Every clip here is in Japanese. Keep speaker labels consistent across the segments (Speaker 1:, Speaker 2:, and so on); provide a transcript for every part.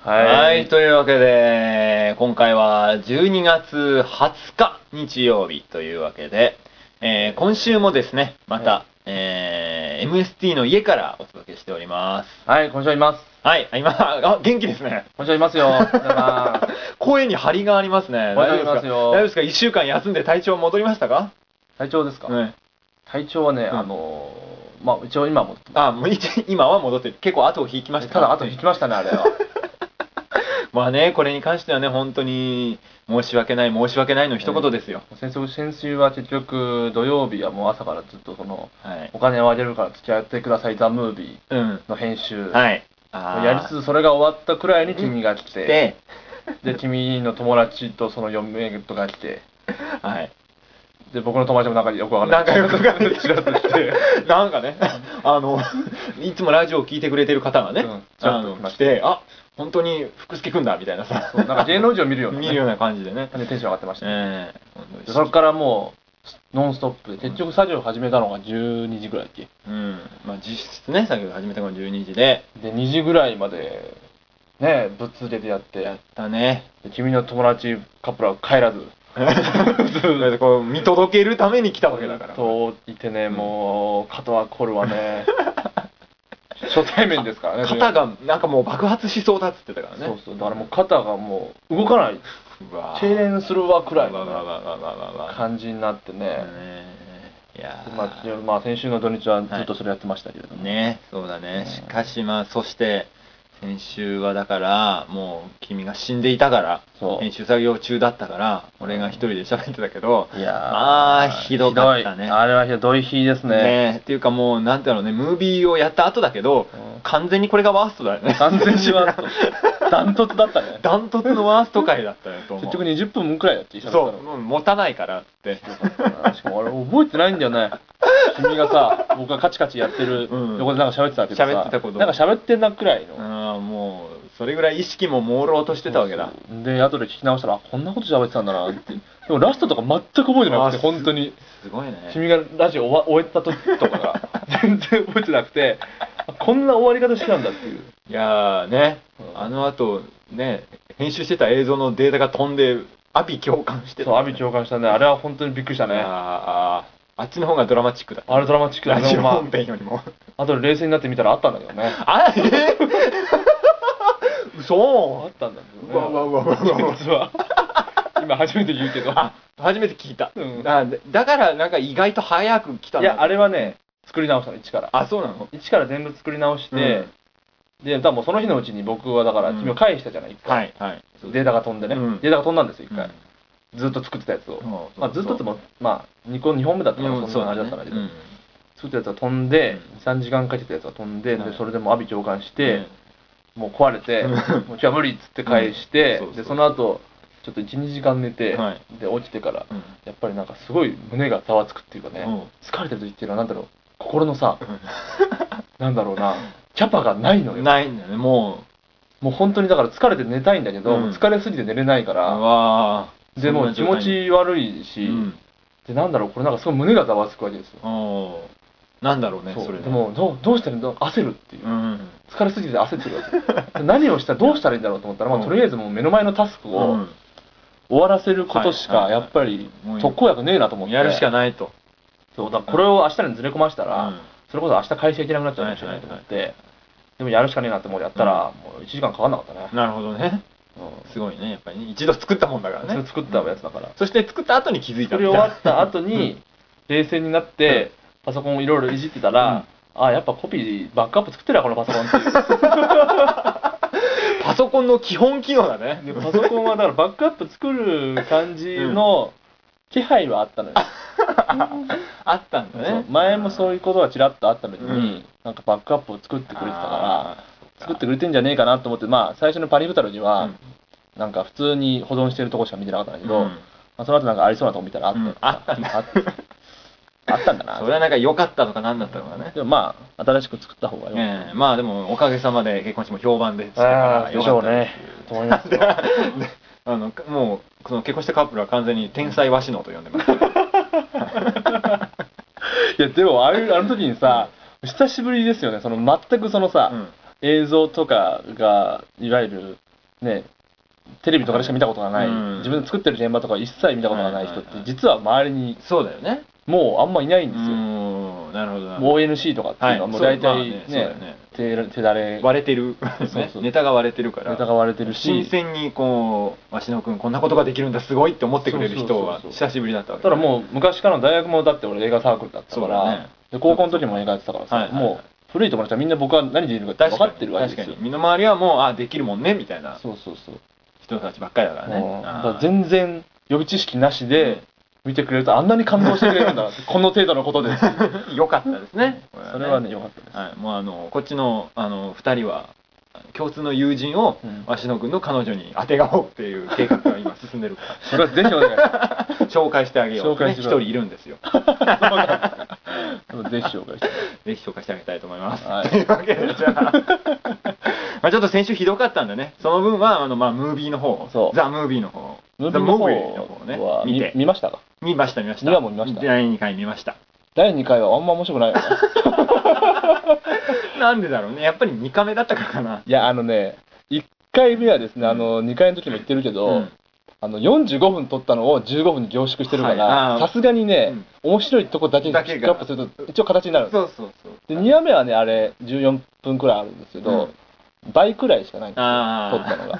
Speaker 1: はい、というわけで、今回は12月20日日曜日というわけで、えー今週もですね、また、
Speaker 2: は
Speaker 1: えー MST の家からお届けしております。
Speaker 2: はい、今週はいます。
Speaker 1: はい、あ今、あ、元気ですね。
Speaker 2: 今週はいますよ。 おはようございます
Speaker 1: 声に張りがありますね。大
Speaker 2: わかり
Speaker 1: 丈夫です
Speaker 2: ます
Speaker 1: か
Speaker 2: よ
Speaker 1: 大丈夫ですか一週間休んで体調戻りましたか
Speaker 2: 体調ですか、
Speaker 1: ね。
Speaker 2: 体調はね、
Speaker 1: ん
Speaker 2: あのー、まあ、一応今も、
Speaker 1: あ、もう一今は戻ってる。結構後を引きました
Speaker 2: ただ後引きましたね、あ れは。
Speaker 1: まあね、これに関してはね、本当に申し訳ない、申し訳ないの一言ですよ。
Speaker 2: 先週、先週は結局、土曜日はもう朝からずっとその、
Speaker 1: はい。
Speaker 2: お金をあげるから付き合ってください、ザ・ムービー
Speaker 1: うん。
Speaker 2: の編集。
Speaker 1: はい。あー
Speaker 2: やりつつ、それが終わったくらいに君が来て、
Speaker 1: で、
Speaker 2: で、君の友達とその嫁とか来て、
Speaker 1: はい。
Speaker 2: で、僕の友達もなんかよくわかんない。
Speaker 1: なんかよくわかんない
Speaker 2: ち らっと来て、
Speaker 1: なんかね、あの、いつもラジオを聞いてくれてる方がね、
Speaker 2: うんち
Speaker 1: あ
Speaker 2: らっと
Speaker 1: の
Speaker 2: 来まし
Speaker 1: 来
Speaker 2: た
Speaker 1: て、あ、本当に福助くんだ、みたいなさ、
Speaker 2: そうなんか芸能人を見るような、ね。
Speaker 1: 見る ような感じでね。
Speaker 2: でテンション上がってました。
Speaker 1: ええ本当に
Speaker 2: でそれからもうノンストップで結局作業を始めたのが12時ぐらいだっけ
Speaker 1: うん。まあ実質ね、作業始めたのが12時で、
Speaker 2: で2時ぐらいまでねぶっ続けてやって
Speaker 1: やったね。
Speaker 2: で君の友達カップルは帰らず
Speaker 1: だって こう、見届けるために来たわけだから。
Speaker 2: といてねもう肩は凝るわ ね初対面ですからねが
Speaker 1: 肩が、なんかもう爆発しそうだっつってたからね。
Speaker 2: そうそうだからもう肩がもう動かないう
Speaker 1: わ
Speaker 2: 痙攣するわく
Speaker 1: わ
Speaker 2: らい
Speaker 1: わわわ
Speaker 2: のね
Speaker 1: わわわわ
Speaker 2: 感じになってね
Speaker 1: ねいや
Speaker 2: で
Speaker 1: ー
Speaker 2: まあでまあ先週の土日はずっとそれやってましたけれども、
Speaker 1: ねそうだねしかしまあそして先週はだからもう君が死んでいたから
Speaker 2: そう
Speaker 1: 編集作業中だったから俺が一人で喋ってたけど
Speaker 2: いやー
Speaker 1: まあひどかったね
Speaker 2: ひどいあれはひどい日です
Speaker 1: ねっていうかもうなんていうのねムービーをやった後だけど、
Speaker 2: ん
Speaker 1: 完全にこれがワーストだよ ね
Speaker 2: 完全にワーストダントツだった ね
Speaker 1: ダントツのワースト回だったよ と思う
Speaker 2: 結局20分くらいだって一緒
Speaker 1: そ
Speaker 2: だ
Speaker 1: うもう持たないからっつって
Speaker 2: ったのしかも俺覚えてないんだよね君がさ僕がカチカチやってる
Speaker 1: うん
Speaker 2: 横でなんか喋ってたけどさ
Speaker 1: 喋ってたこと
Speaker 2: なんか喋ってんなくらいの
Speaker 1: ああもうそれぐらい意識も朦朧としてたわけだ
Speaker 2: で後で聞き直したらあこんなこと喋ってたんだなってでもラストとか全く覚えてな
Speaker 1: あ
Speaker 2: くて
Speaker 1: す
Speaker 2: 本当に
Speaker 1: すごいね
Speaker 2: 君がラジオ終わ終えた時とか が全然覚えてなくてあこんな終わり方してたんだって いう
Speaker 1: いやーね、
Speaker 2: うん
Speaker 1: あの後ね、編集してた映像のデータが飛んで、アビ共感してた、
Speaker 2: そう阿炎共感したねあれは本当にびっくりした
Speaker 1: いや
Speaker 2: ね
Speaker 1: ーあーあっちの方がドラマチックだった。
Speaker 2: あれドラマチックだ
Speaker 1: ラジ
Speaker 2: ね
Speaker 1: オ
Speaker 2: ま
Speaker 1: 本編よりも。
Speaker 2: あ後で冷静になってみたらあったんだけどね
Speaker 1: あ えー、
Speaker 2: あ
Speaker 1: 嘘
Speaker 2: ったんだけ
Speaker 1: うわうわ
Speaker 2: どね
Speaker 1: うわうわうわ
Speaker 2: 実は 今初めて言うけど
Speaker 1: あ初めて聞いた、
Speaker 2: うん
Speaker 1: あでだからなんか意外と早く来たん
Speaker 2: い
Speaker 1: だ
Speaker 2: やあれはね作り直したの一から
Speaker 1: あそうなの
Speaker 2: 一から全部作り直して、で多分その日のうちに僕はだから
Speaker 1: うん
Speaker 2: 君を返したじゃない一回、
Speaker 1: はいはいそう
Speaker 2: データが飛んでね、
Speaker 1: うん
Speaker 2: データが飛んだんですよ一
Speaker 1: うん
Speaker 2: 回、ずっと作ってたやつを、
Speaker 1: そう
Speaker 2: まあ、ずっとって
Speaker 1: そう
Speaker 2: もまあ 2, 個2本目だったから、
Speaker 1: うん
Speaker 2: そ
Speaker 1: そ
Speaker 2: ん
Speaker 1: う
Speaker 2: な
Speaker 1: だ
Speaker 2: あれだ
Speaker 1: ね
Speaker 2: ったんだけど、
Speaker 1: うん
Speaker 2: 作ったやつが飛んで、
Speaker 1: う
Speaker 2: 23
Speaker 1: ん
Speaker 2: 時間かけてたやつが飛んで,、
Speaker 1: はい
Speaker 2: でそれでもう阿炎長官し
Speaker 1: う
Speaker 2: て
Speaker 1: ん、
Speaker 2: もう壊れて、もう今日は無理っつって返して、
Speaker 1: うんそうそう
Speaker 2: でその後ちょっと12時間寝て、
Speaker 1: はい
Speaker 2: で起きてから
Speaker 1: うん
Speaker 2: やっぱりなんかすごい胸がざわつくっていうかね、
Speaker 1: うん
Speaker 2: 疲れてる時っていうのはなんだろう心のさ、なんだろうなキャパがないのよ
Speaker 1: ないんだよねも
Speaker 2: もう本当にだから疲れて寝たいんだけど、
Speaker 1: うん
Speaker 2: 疲れすぎて寝れないか
Speaker 1: うう
Speaker 2: ら、
Speaker 1: わー
Speaker 2: でもう気
Speaker 1: そんな
Speaker 2: 持
Speaker 1: 状態に
Speaker 2: ち悪いし、
Speaker 1: うん
Speaker 2: でなんだろうこれなんかすごい胸がざわつくわけですよ、
Speaker 1: おーなんだろうね
Speaker 2: そう
Speaker 1: それね
Speaker 2: でもどうどうしたらいいんだろう焦るっていう
Speaker 1: うん
Speaker 2: 疲れすぎて焦ってるわけで何をしたらどうしたらいいんだろうと思ったら、まあ、
Speaker 1: うん
Speaker 2: とりあえずもう目の前のタスク
Speaker 1: う
Speaker 2: を
Speaker 1: ん
Speaker 2: 終わらせることし
Speaker 1: はい
Speaker 2: か
Speaker 1: はいは
Speaker 2: や
Speaker 1: い
Speaker 2: っぱり
Speaker 1: もう
Speaker 2: 特効薬ねえなと思って
Speaker 1: やるしかないと
Speaker 2: そうだからこれを明日にずれ込ましたら、
Speaker 1: うん
Speaker 2: それこそ明日会社行けなくなっちゃうかもしれないと思って、でもやるしかねえなってもうやったら、もう1時間かかんなかったね、
Speaker 1: なるほどね
Speaker 2: う
Speaker 1: すごいねやっぱりね一度作ったもんだから
Speaker 2: ん、それ
Speaker 1: ね
Speaker 2: 作ったやつだから、
Speaker 1: そして作った後に気づいた
Speaker 2: 作
Speaker 1: んだ
Speaker 2: り終わった後に冷静になって、パソコンをいろいろいじってたら、あやっぱコピーバックアップ作ってるわこのパソコンっていう
Speaker 1: パソコンの基本機能だね
Speaker 2: でパソコンはだからバックアップ作る感じの気配はあったのよ、
Speaker 1: あったんだ
Speaker 2: そう
Speaker 1: ね
Speaker 2: 前もそういうことはちらっとあったのに、
Speaker 1: うん
Speaker 2: なんかバックアップを作ってくれてたから
Speaker 1: あー
Speaker 2: 作ってくれてんじゃねえかなと思ってまあ最初のパニフタルには、
Speaker 1: うん
Speaker 2: なんか普通に保存してるとこしか見てなかったんだけ
Speaker 1: う
Speaker 2: ど、
Speaker 1: ん
Speaker 2: まあ、その後なんかありそうなとこ見たらあった、
Speaker 1: うんあったんだ
Speaker 2: ああったんだな
Speaker 1: それはなんか良かったのか何だったのかね
Speaker 2: でもまあ新しく作った方がよかっ
Speaker 1: ねえまあでもおかげさまで結婚しても評判でした
Speaker 2: た、あ
Speaker 1: か
Speaker 2: あ
Speaker 1: ら
Speaker 2: で
Speaker 1: よ
Speaker 2: し
Speaker 1: か
Speaker 2: ょ
Speaker 1: っ
Speaker 2: う
Speaker 1: た
Speaker 2: ね
Speaker 1: です
Speaker 2: と思いますよ
Speaker 1: あのもうその結婚したカップルは完全に天才和のと呼んでま す
Speaker 2: いやでもああいうあの時にさ久しぶりですよねその全くそのさ、
Speaker 1: うん
Speaker 2: 映像とかがいわゆるねテレビとかでしか見たことがない、
Speaker 1: うん
Speaker 2: 自分で作ってる現場とか一切見たことがない人っ
Speaker 1: はいはいは
Speaker 2: て
Speaker 1: い
Speaker 2: 実は周りに
Speaker 1: そうだよね
Speaker 2: もうあんまいないん
Speaker 1: う
Speaker 2: ですよ、
Speaker 1: ーんなるほどな
Speaker 2: もう ONC とかっていうのはもう大体ね,、
Speaker 1: そうまあそうだよね
Speaker 2: 手手だれ
Speaker 1: 割れてる
Speaker 2: そうそう
Speaker 1: ネタが割れてるから
Speaker 2: ネタが割れてるし
Speaker 1: 新鮮にこう鷲野君こんなことができるんだすごいって思ってくれる
Speaker 2: そう
Speaker 1: 人は
Speaker 2: そうそうそう
Speaker 1: 久しぶりだったわけ
Speaker 2: ただもう昔からの大学もだって俺映画サークルだった
Speaker 1: そ
Speaker 2: か
Speaker 1: うだ
Speaker 2: ら、
Speaker 1: ね
Speaker 2: で高校の時も映画やってたからさ、
Speaker 1: はいはいはい
Speaker 2: もう古い友達はみんな僕は何でいるかって
Speaker 1: 確
Speaker 2: 分
Speaker 1: か
Speaker 2: か
Speaker 1: に
Speaker 2: ってるわけです
Speaker 1: 確
Speaker 2: よ
Speaker 1: かに身の回りはもうあできるもんねみたいな
Speaker 2: そうそうそう、
Speaker 1: 人たちばっかりだからね
Speaker 2: うんだ
Speaker 1: あー
Speaker 2: から 全然予備知識なしで見てくれるとあんなに感動してくれるんだなって この程度のことです
Speaker 1: 良かったですねこ
Speaker 2: それはね良かったです、
Speaker 1: はい、もうあのこっちのあの2人は共通の友人を
Speaker 2: うん
Speaker 1: 鷲野君の彼女に当てがおうっていう計画が今進んでるか
Speaker 2: それはぜひお願いし ま
Speaker 1: ら紹介してあげよう
Speaker 2: 紹介し
Speaker 1: 一
Speaker 2: よう
Speaker 1: 人いるんですよ
Speaker 2: すでもぜひ紹介して
Speaker 1: ぜひ紹介してあげたいと思います、
Speaker 2: はい
Speaker 1: というわけでじゃあ まあちょっと先週ひどかったんでねその分はあの、まあ、ムービーの方
Speaker 2: そう
Speaker 1: ザ・ムービーの方
Speaker 2: ムー
Speaker 1: ザ・
Speaker 2: ビー
Speaker 1: ム
Speaker 2: の方
Speaker 1: ービーの方ね
Speaker 2: は
Speaker 1: 見
Speaker 2: 見
Speaker 1: て
Speaker 2: 見ましたか
Speaker 1: 見ました見ました
Speaker 2: 二話も見ました
Speaker 1: 第2回見ました
Speaker 2: 第2回はあんま面白 くないよね
Speaker 1: なんでだろうねやっぱり2回目だったからかない
Speaker 2: やあのね1回目はですねあの2回の時も言ってるけど、
Speaker 1: うん
Speaker 2: あの45分撮ったのを15分に凝縮してるか
Speaker 1: はいあ
Speaker 2: ら
Speaker 1: ー
Speaker 2: さすがにね、面白いとこだけピ
Speaker 1: だけ
Speaker 2: ッ
Speaker 1: が
Speaker 2: クアップすると一応形になるんです
Speaker 1: そうそうそう
Speaker 2: で2話目はねあれ14分くらいあるんですけど、倍くらいしかないんですよ
Speaker 1: あ
Speaker 2: 撮
Speaker 1: ー
Speaker 2: ったの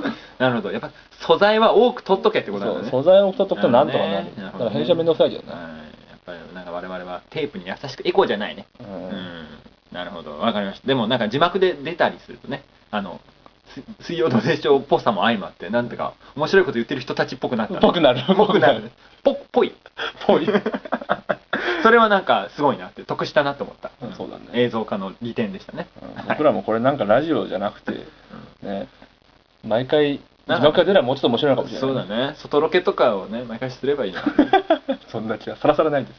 Speaker 2: が
Speaker 1: なるほどやっぱ素材は多く取っとけってことなん
Speaker 2: そ
Speaker 1: だ
Speaker 2: う
Speaker 1: ね
Speaker 2: 素材を太っとくとなんとかな
Speaker 1: なる
Speaker 2: る
Speaker 1: ほどね
Speaker 2: だから編集は面倒くさいけどね
Speaker 1: はいやっぱりなんか我々はテープに優しくエコーじゃないね
Speaker 2: うん
Speaker 1: うん、なるほどわかりましたでもなんか字幕で出たりするとねあのす水曜どうでしょうっぽさも相まってなんてか面白いこと言ってる人たちっぽくなったね
Speaker 2: ぽくなる
Speaker 1: ぽくなるねぽぽい
Speaker 2: ぽい
Speaker 1: それはなんかすごいなって得したなと思った、
Speaker 2: うんそうだね
Speaker 1: 映像化の利点でしたね、
Speaker 2: 僕らもこれなんかラジオじゃなくてね毎回字幕が出ればもうちょっと面白いのかもしれない
Speaker 1: そうだね外ロケとかをね毎回すればいいな
Speaker 2: そんな気がさらさらないです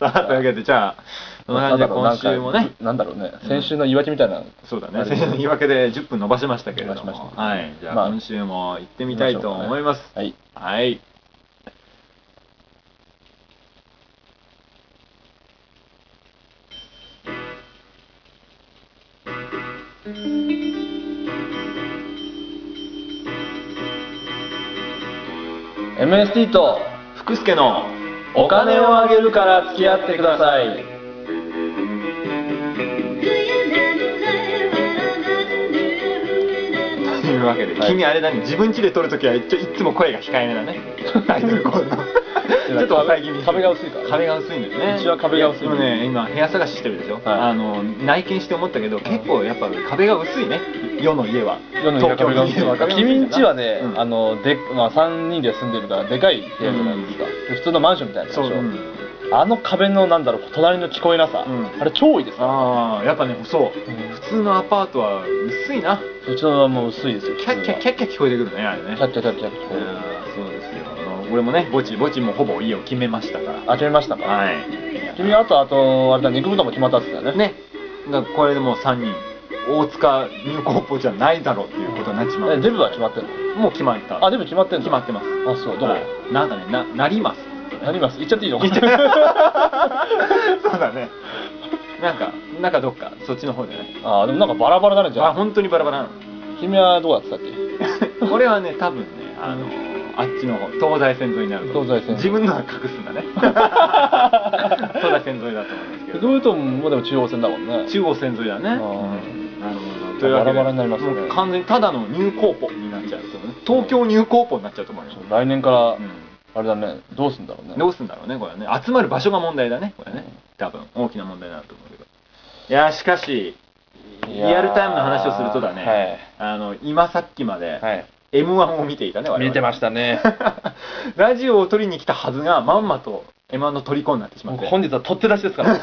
Speaker 1: さあというわけでじゃあそんな
Speaker 2: な
Speaker 1: 感
Speaker 2: ん
Speaker 1: じ
Speaker 2: だ
Speaker 1: で
Speaker 2: ろうなんか
Speaker 1: 今週もね
Speaker 2: なんだろうね先週の言い訳みたいな
Speaker 1: そうだ
Speaker 2: あ
Speaker 1: ね
Speaker 2: れ
Speaker 1: 先 週の言い訳で10分伸ばしましたけれども
Speaker 2: 伸ばしました
Speaker 1: はいじゃ
Speaker 2: ま
Speaker 1: あ
Speaker 2: あ
Speaker 1: 今週も行ってみたいと思います、
Speaker 2: はい
Speaker 1: はい。
Speaker 2: MST と
Speaker 1: 福助の
Speaker 2: お金をあげるから付き合ってください
Speaker 3: Do
Speaker 1: と
Speaker 3: you never know what I'm gonna do?
Speaker 1: いうわけで、
Speaker 2: はい
Speaker 1: 君あれ何自分家で撮るときは一応いつも声が控えめだね アイドルコールの ちょっと抑え気味に
Speaker 2: 壁が薄いから
Speaker 1: 壁が薄いんだよね
Speaker 2: うちは壁が薄い
Speaker 1: でもね今部屋探ししてるでしょ、あの内見して思ったけど結構やっぱ壁が薄いね世の家は
Speaker 2: 世の中壁が薄い
Speaker 1: 東京の家は壁が薄い
Speaker 2: 君んちはね、
Speaker 1: うん
Speaker 2: あのでまあ、3人で住んでるからでかい部屋じゃないですか、普通のマンションみたいなやつ
Speaker 1: そ
Speaker 2: で
Speaker 1: う、
Speaker 2: しょ、
Speaker 1: うん
Speaker 2: あの壁のなんだろう隣の聞こえなさ、
Speaker 1: うん
Speaker 2: あれ超多いですか
Speaker 1: ああやっぱねそう、
Speaker 2: うん
Speaker 1: 普通のアパートは薄いな
Speaker 2: うちのはもう薄いですよ
Speaker 1: キャッキャッキャッキャ聞こえてくるねあれね
Speaker 2: キャッキャキャッキャッ聞こえ
Speaker 1: いや
Speaker 2: る
Speaker 1: ーそうですよあの俺もね墓地墓地もほぼ家を決めましたか
Speaker 2: あ決めましたから
Speaker 1: はい
Speaker 2: ら君あとあとあれだ肉豚も決まったっすよね
Speaker 1: ねだからこれでもう3人大塚ニューコーポじゃないだろうっていうことになっちま
Speaker 2: え
Speaker 1: う
Speaker 2: デブは決まってんの
Speaker 1: もう決まった
Speaker 2: あデブ決まってんの
Speaker 1: 決まってます
Speaker 2: あそうどこ、
Speaker 1: はいなんかねななり ます
Speaker 2: なります行っちゃっていいの
Speaker 1: 言っちゃそうだねなんかなんかどっかそっちの方じゃない
Speaker 2: あでもなんかバラバラだねじ
Speaker 1: じゃあ
Speaker 2: ゃあ
Speaker 1: 本当にバラバラな
Speaker 2: 君はどうだってたっけ
Speaker 1: の これはね多分ねあのあっちの方東西線沿いになると
Speaker 2: 東西線
Speaker 1: 自分のは隠す んだね東西線沿いだと思いますけど
Speaker 2: 肉豚もでも中央線だもんね
Speaker 1: 中央線沿いだね、
Speaker 2: あー
Speaker 1: なるほど
Speaker 2: というわけでバラバラになりますね
Speaker 1: もう完全にただの入高ポになっちゃうと思うね東京入高ポになっちゃうと思うよ、
Speaker 2: 来年から
Speaker 1: う
Speaker 2: あれだねどうすんだろうね
Speaker 1: ん、どうすんだろうねこれはね集まる場所が問題だねこれね多分大きな問題になると思うけどいやーしかし
Speaker 2: い
Speaker 1: リ
Speaker 2: やー
Speaker 1: アルタイムの話をするとだね、
Speaker 2: はい
Speaker 1: あの今さっきまで
Speaker 2: はい
Speaker 1: m 1を見ていたね我々
Speaker 2: 見てましたね
Speaker 1: ラジオを撮りに来たはずがまんまと m 1の虜になってしまって
Speaker 2: 本日は取って出しですから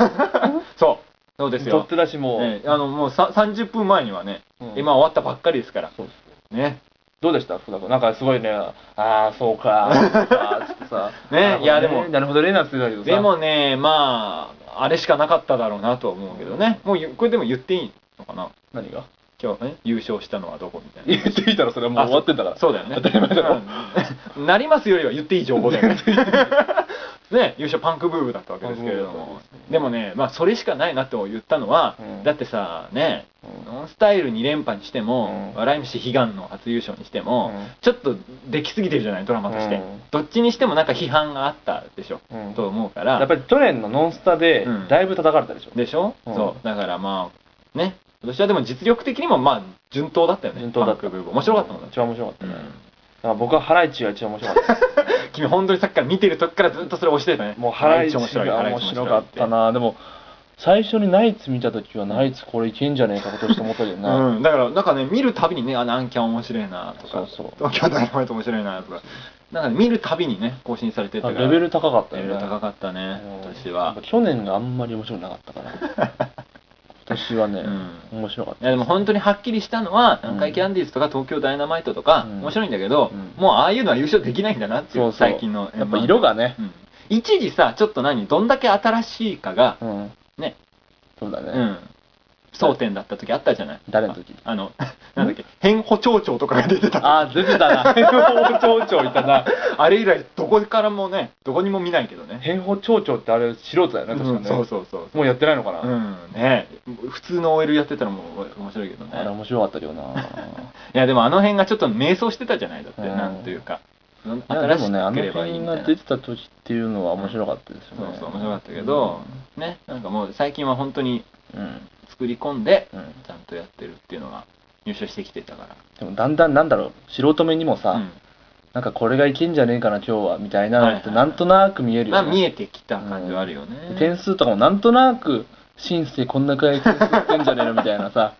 Speaker 1: そうそうです
Speaker 2: 取
Speaker 1: よ
Speaker 2: っ、て出しもう、
Speaker 1: ねあのもうさ30分前にはね、
Speaker 2: うん
Speaker 1: m 1終わったばっかりですから
Speaker 2: そう
Speaker 1: ね
Speaker 2: どうでした福田君なんかすごいねああそう かそうかつってさなるほ
Speaker 1: ね
Speaker 2: ど
Speaker 1: いやでも
Speaker 2: なるほどねなんつってたけどさ
Speaker 1: でもねまああれしかなかっただろうなとは思うけどねもうゆこれでも言っていいのかな
Speaker 2: 何が
Speaker 1: 今日ね優勝したのはどこみたいな
Speaker 2: 言ってみたらそれはもう終わってんだから
Speaker 1: そうだよね
Speaker 2: 当たり前だろ
Speaker 1: うん なりますよりは言っていい情報だよね ね優勝パンクブーブだったわけですけれど
Speaker 2: パンクブーブ
Speaker 1: も
Speaker 2: だった
Speaker 1: でもねまあそれしかないなと言ったのは、
Speaker 2: うん
Speaker 1: だってさね、ノンスタイル2連覇にしても、
Speaker 2: うん
Speaker 1: 笑い飯悲願の初優勝にしても、
Speaker 2: うん
Speaker 1: ちょっとできすぎてるじゃないドラマとして、
Speaker 2: うん
Speaker 1: どっちにしてもなんか批判があったでしょ、
Speaker 2: うん
Speaker 1: と思うから
Speaker 2: やっぱり去年の「ノンスタ」で
Speaker 1: うん
Speaker 2: だいぶ叩かれたでしょ、
Speaker 1: でしょ、
Speaker 2: うん
Speaker 1: そうだからまあね今年はでも実力的にもまあ順当だったよね
Speaker 2: 順当だった
Speaker 1: パンクブーブー面白かったもんね、
Speaker 2: 一番面白かった
Speaker 1: う
Speaker 2: ね、
Speaker 1: ん
Speaker 2: だから僕はハライチが一番面白かった
Speaker 1: 君本当にさっきから見てる時からずっとそれ押してたね
Speaker 2: もうハライチ
Speaker 1: 一面白い
Speaker 2: が面白かったなでも最初にナイツ見た時はナイツこれいけんじゃねえか今年と思ったけどな、
Speaker 1: うん、だからなんかね見るたびにねあ南キャン面白いなと
Speaker 2: そ
Speaker 1: か
Speaker 2: うそう
Speaker 1: 東京ダイナマイト面白いなとかなんか、ね、見るたびにね更新されてったから
Speaker 2: レベル高かった
Speaker 1: レ
Speaker 2: よ
Speaker 1: ベ
Speaker 2: ね
Speaker 1: ル高かったね
Speaker 2: うん
Speaker 1: 今年
Speaker 2: やっ
Speaker 1: は
Speaker 2: ぱ去年があんまり面白くなかった から今年はね、
Speaker 1: う
Speaker 2: 面白かっ
Speaker 1: い
Speaker 2: た
Speaker 1: やでも本当にはっきりしたのは南海キャンディーズとか東京ダイナマイトとか、
Speaker 2: うん
Speaker 1: 面白いんだけど、
Speaker 2: う
Speaker 1: もうああいうのは優勝できないんだなっていう
Speaker 2: そうそう
Speaker 1: 最近の
Speaker 2: やっぱ色が
Speaker 1: が、
Speaker 2: ね
Speaker 1: うん一時さちょっと何どんだけ新しいかが、
Speaker 2: うん
Speaker 1: ね
Speaker 2: そうだね、
Speaker 1: うん、争点だった時あったじゃない
Speaker 2: 誰の時
Speaker 1: あの なんだっけ変補聴長とかが出てた
Speaker 2: ああ出てた な変法町長いたな
Speaker 1: あれ以来どこからもねどこにも見ないけどね
Speaker 2: 変法町長ってあれ素人だよね確かね、
Speaker 1: うんそうそうそうそう
Speaker 2: もうやってないのかな、
Speaker 1: うんね普通の OL やってたらもう面白いけど
Speaker 2: あれ
Speaker 1: ね
Speaker 2: 面白かったけ どな
Speaker 1: いやでもあの辺がちょっと迷走してたじゃないだって
Speaker 2: うん
Speaker 1: なんというか
Speaker 2: いやで
Speaker 1: 新
Speaker 2: も
Speaker 1: し
Speaker 2: ねあ
Speaker 1: け
Speaker 2: の
Speaker 1: ればい
Speaker 2: 辺
Speaker 1: いみた
Speaker 2: が
Speaker 1: いな
Speaker 2: 出てた時っていうのは面白かったです
Speaker 1: そ
Speaker 2: よ
Speaker 1: う
Speaker 2: ね
Speaker 1: そう面白かったけどねなんかもう最近は本当に
Speaker 2: うん、うん
Speaker 1: 作り込んでちゃんとやってるっていうのが入賞してきてたか
Speaker 2: でもだんだんなんだろう素人目にもさ、
Speaker 1: らうん
Speaker 2: なんかこれがいけんじゃねえかな今日はみたいなのって
Speaker 1: はいはいは
Speaker 2: ないんとなく見えるよね、
Speaker 1: まあ見えてきた感じはあるよね
Speaker 2: 点数とかもなんとなくシンスケこんなくらい点数ってんじゃねえのみたいな さ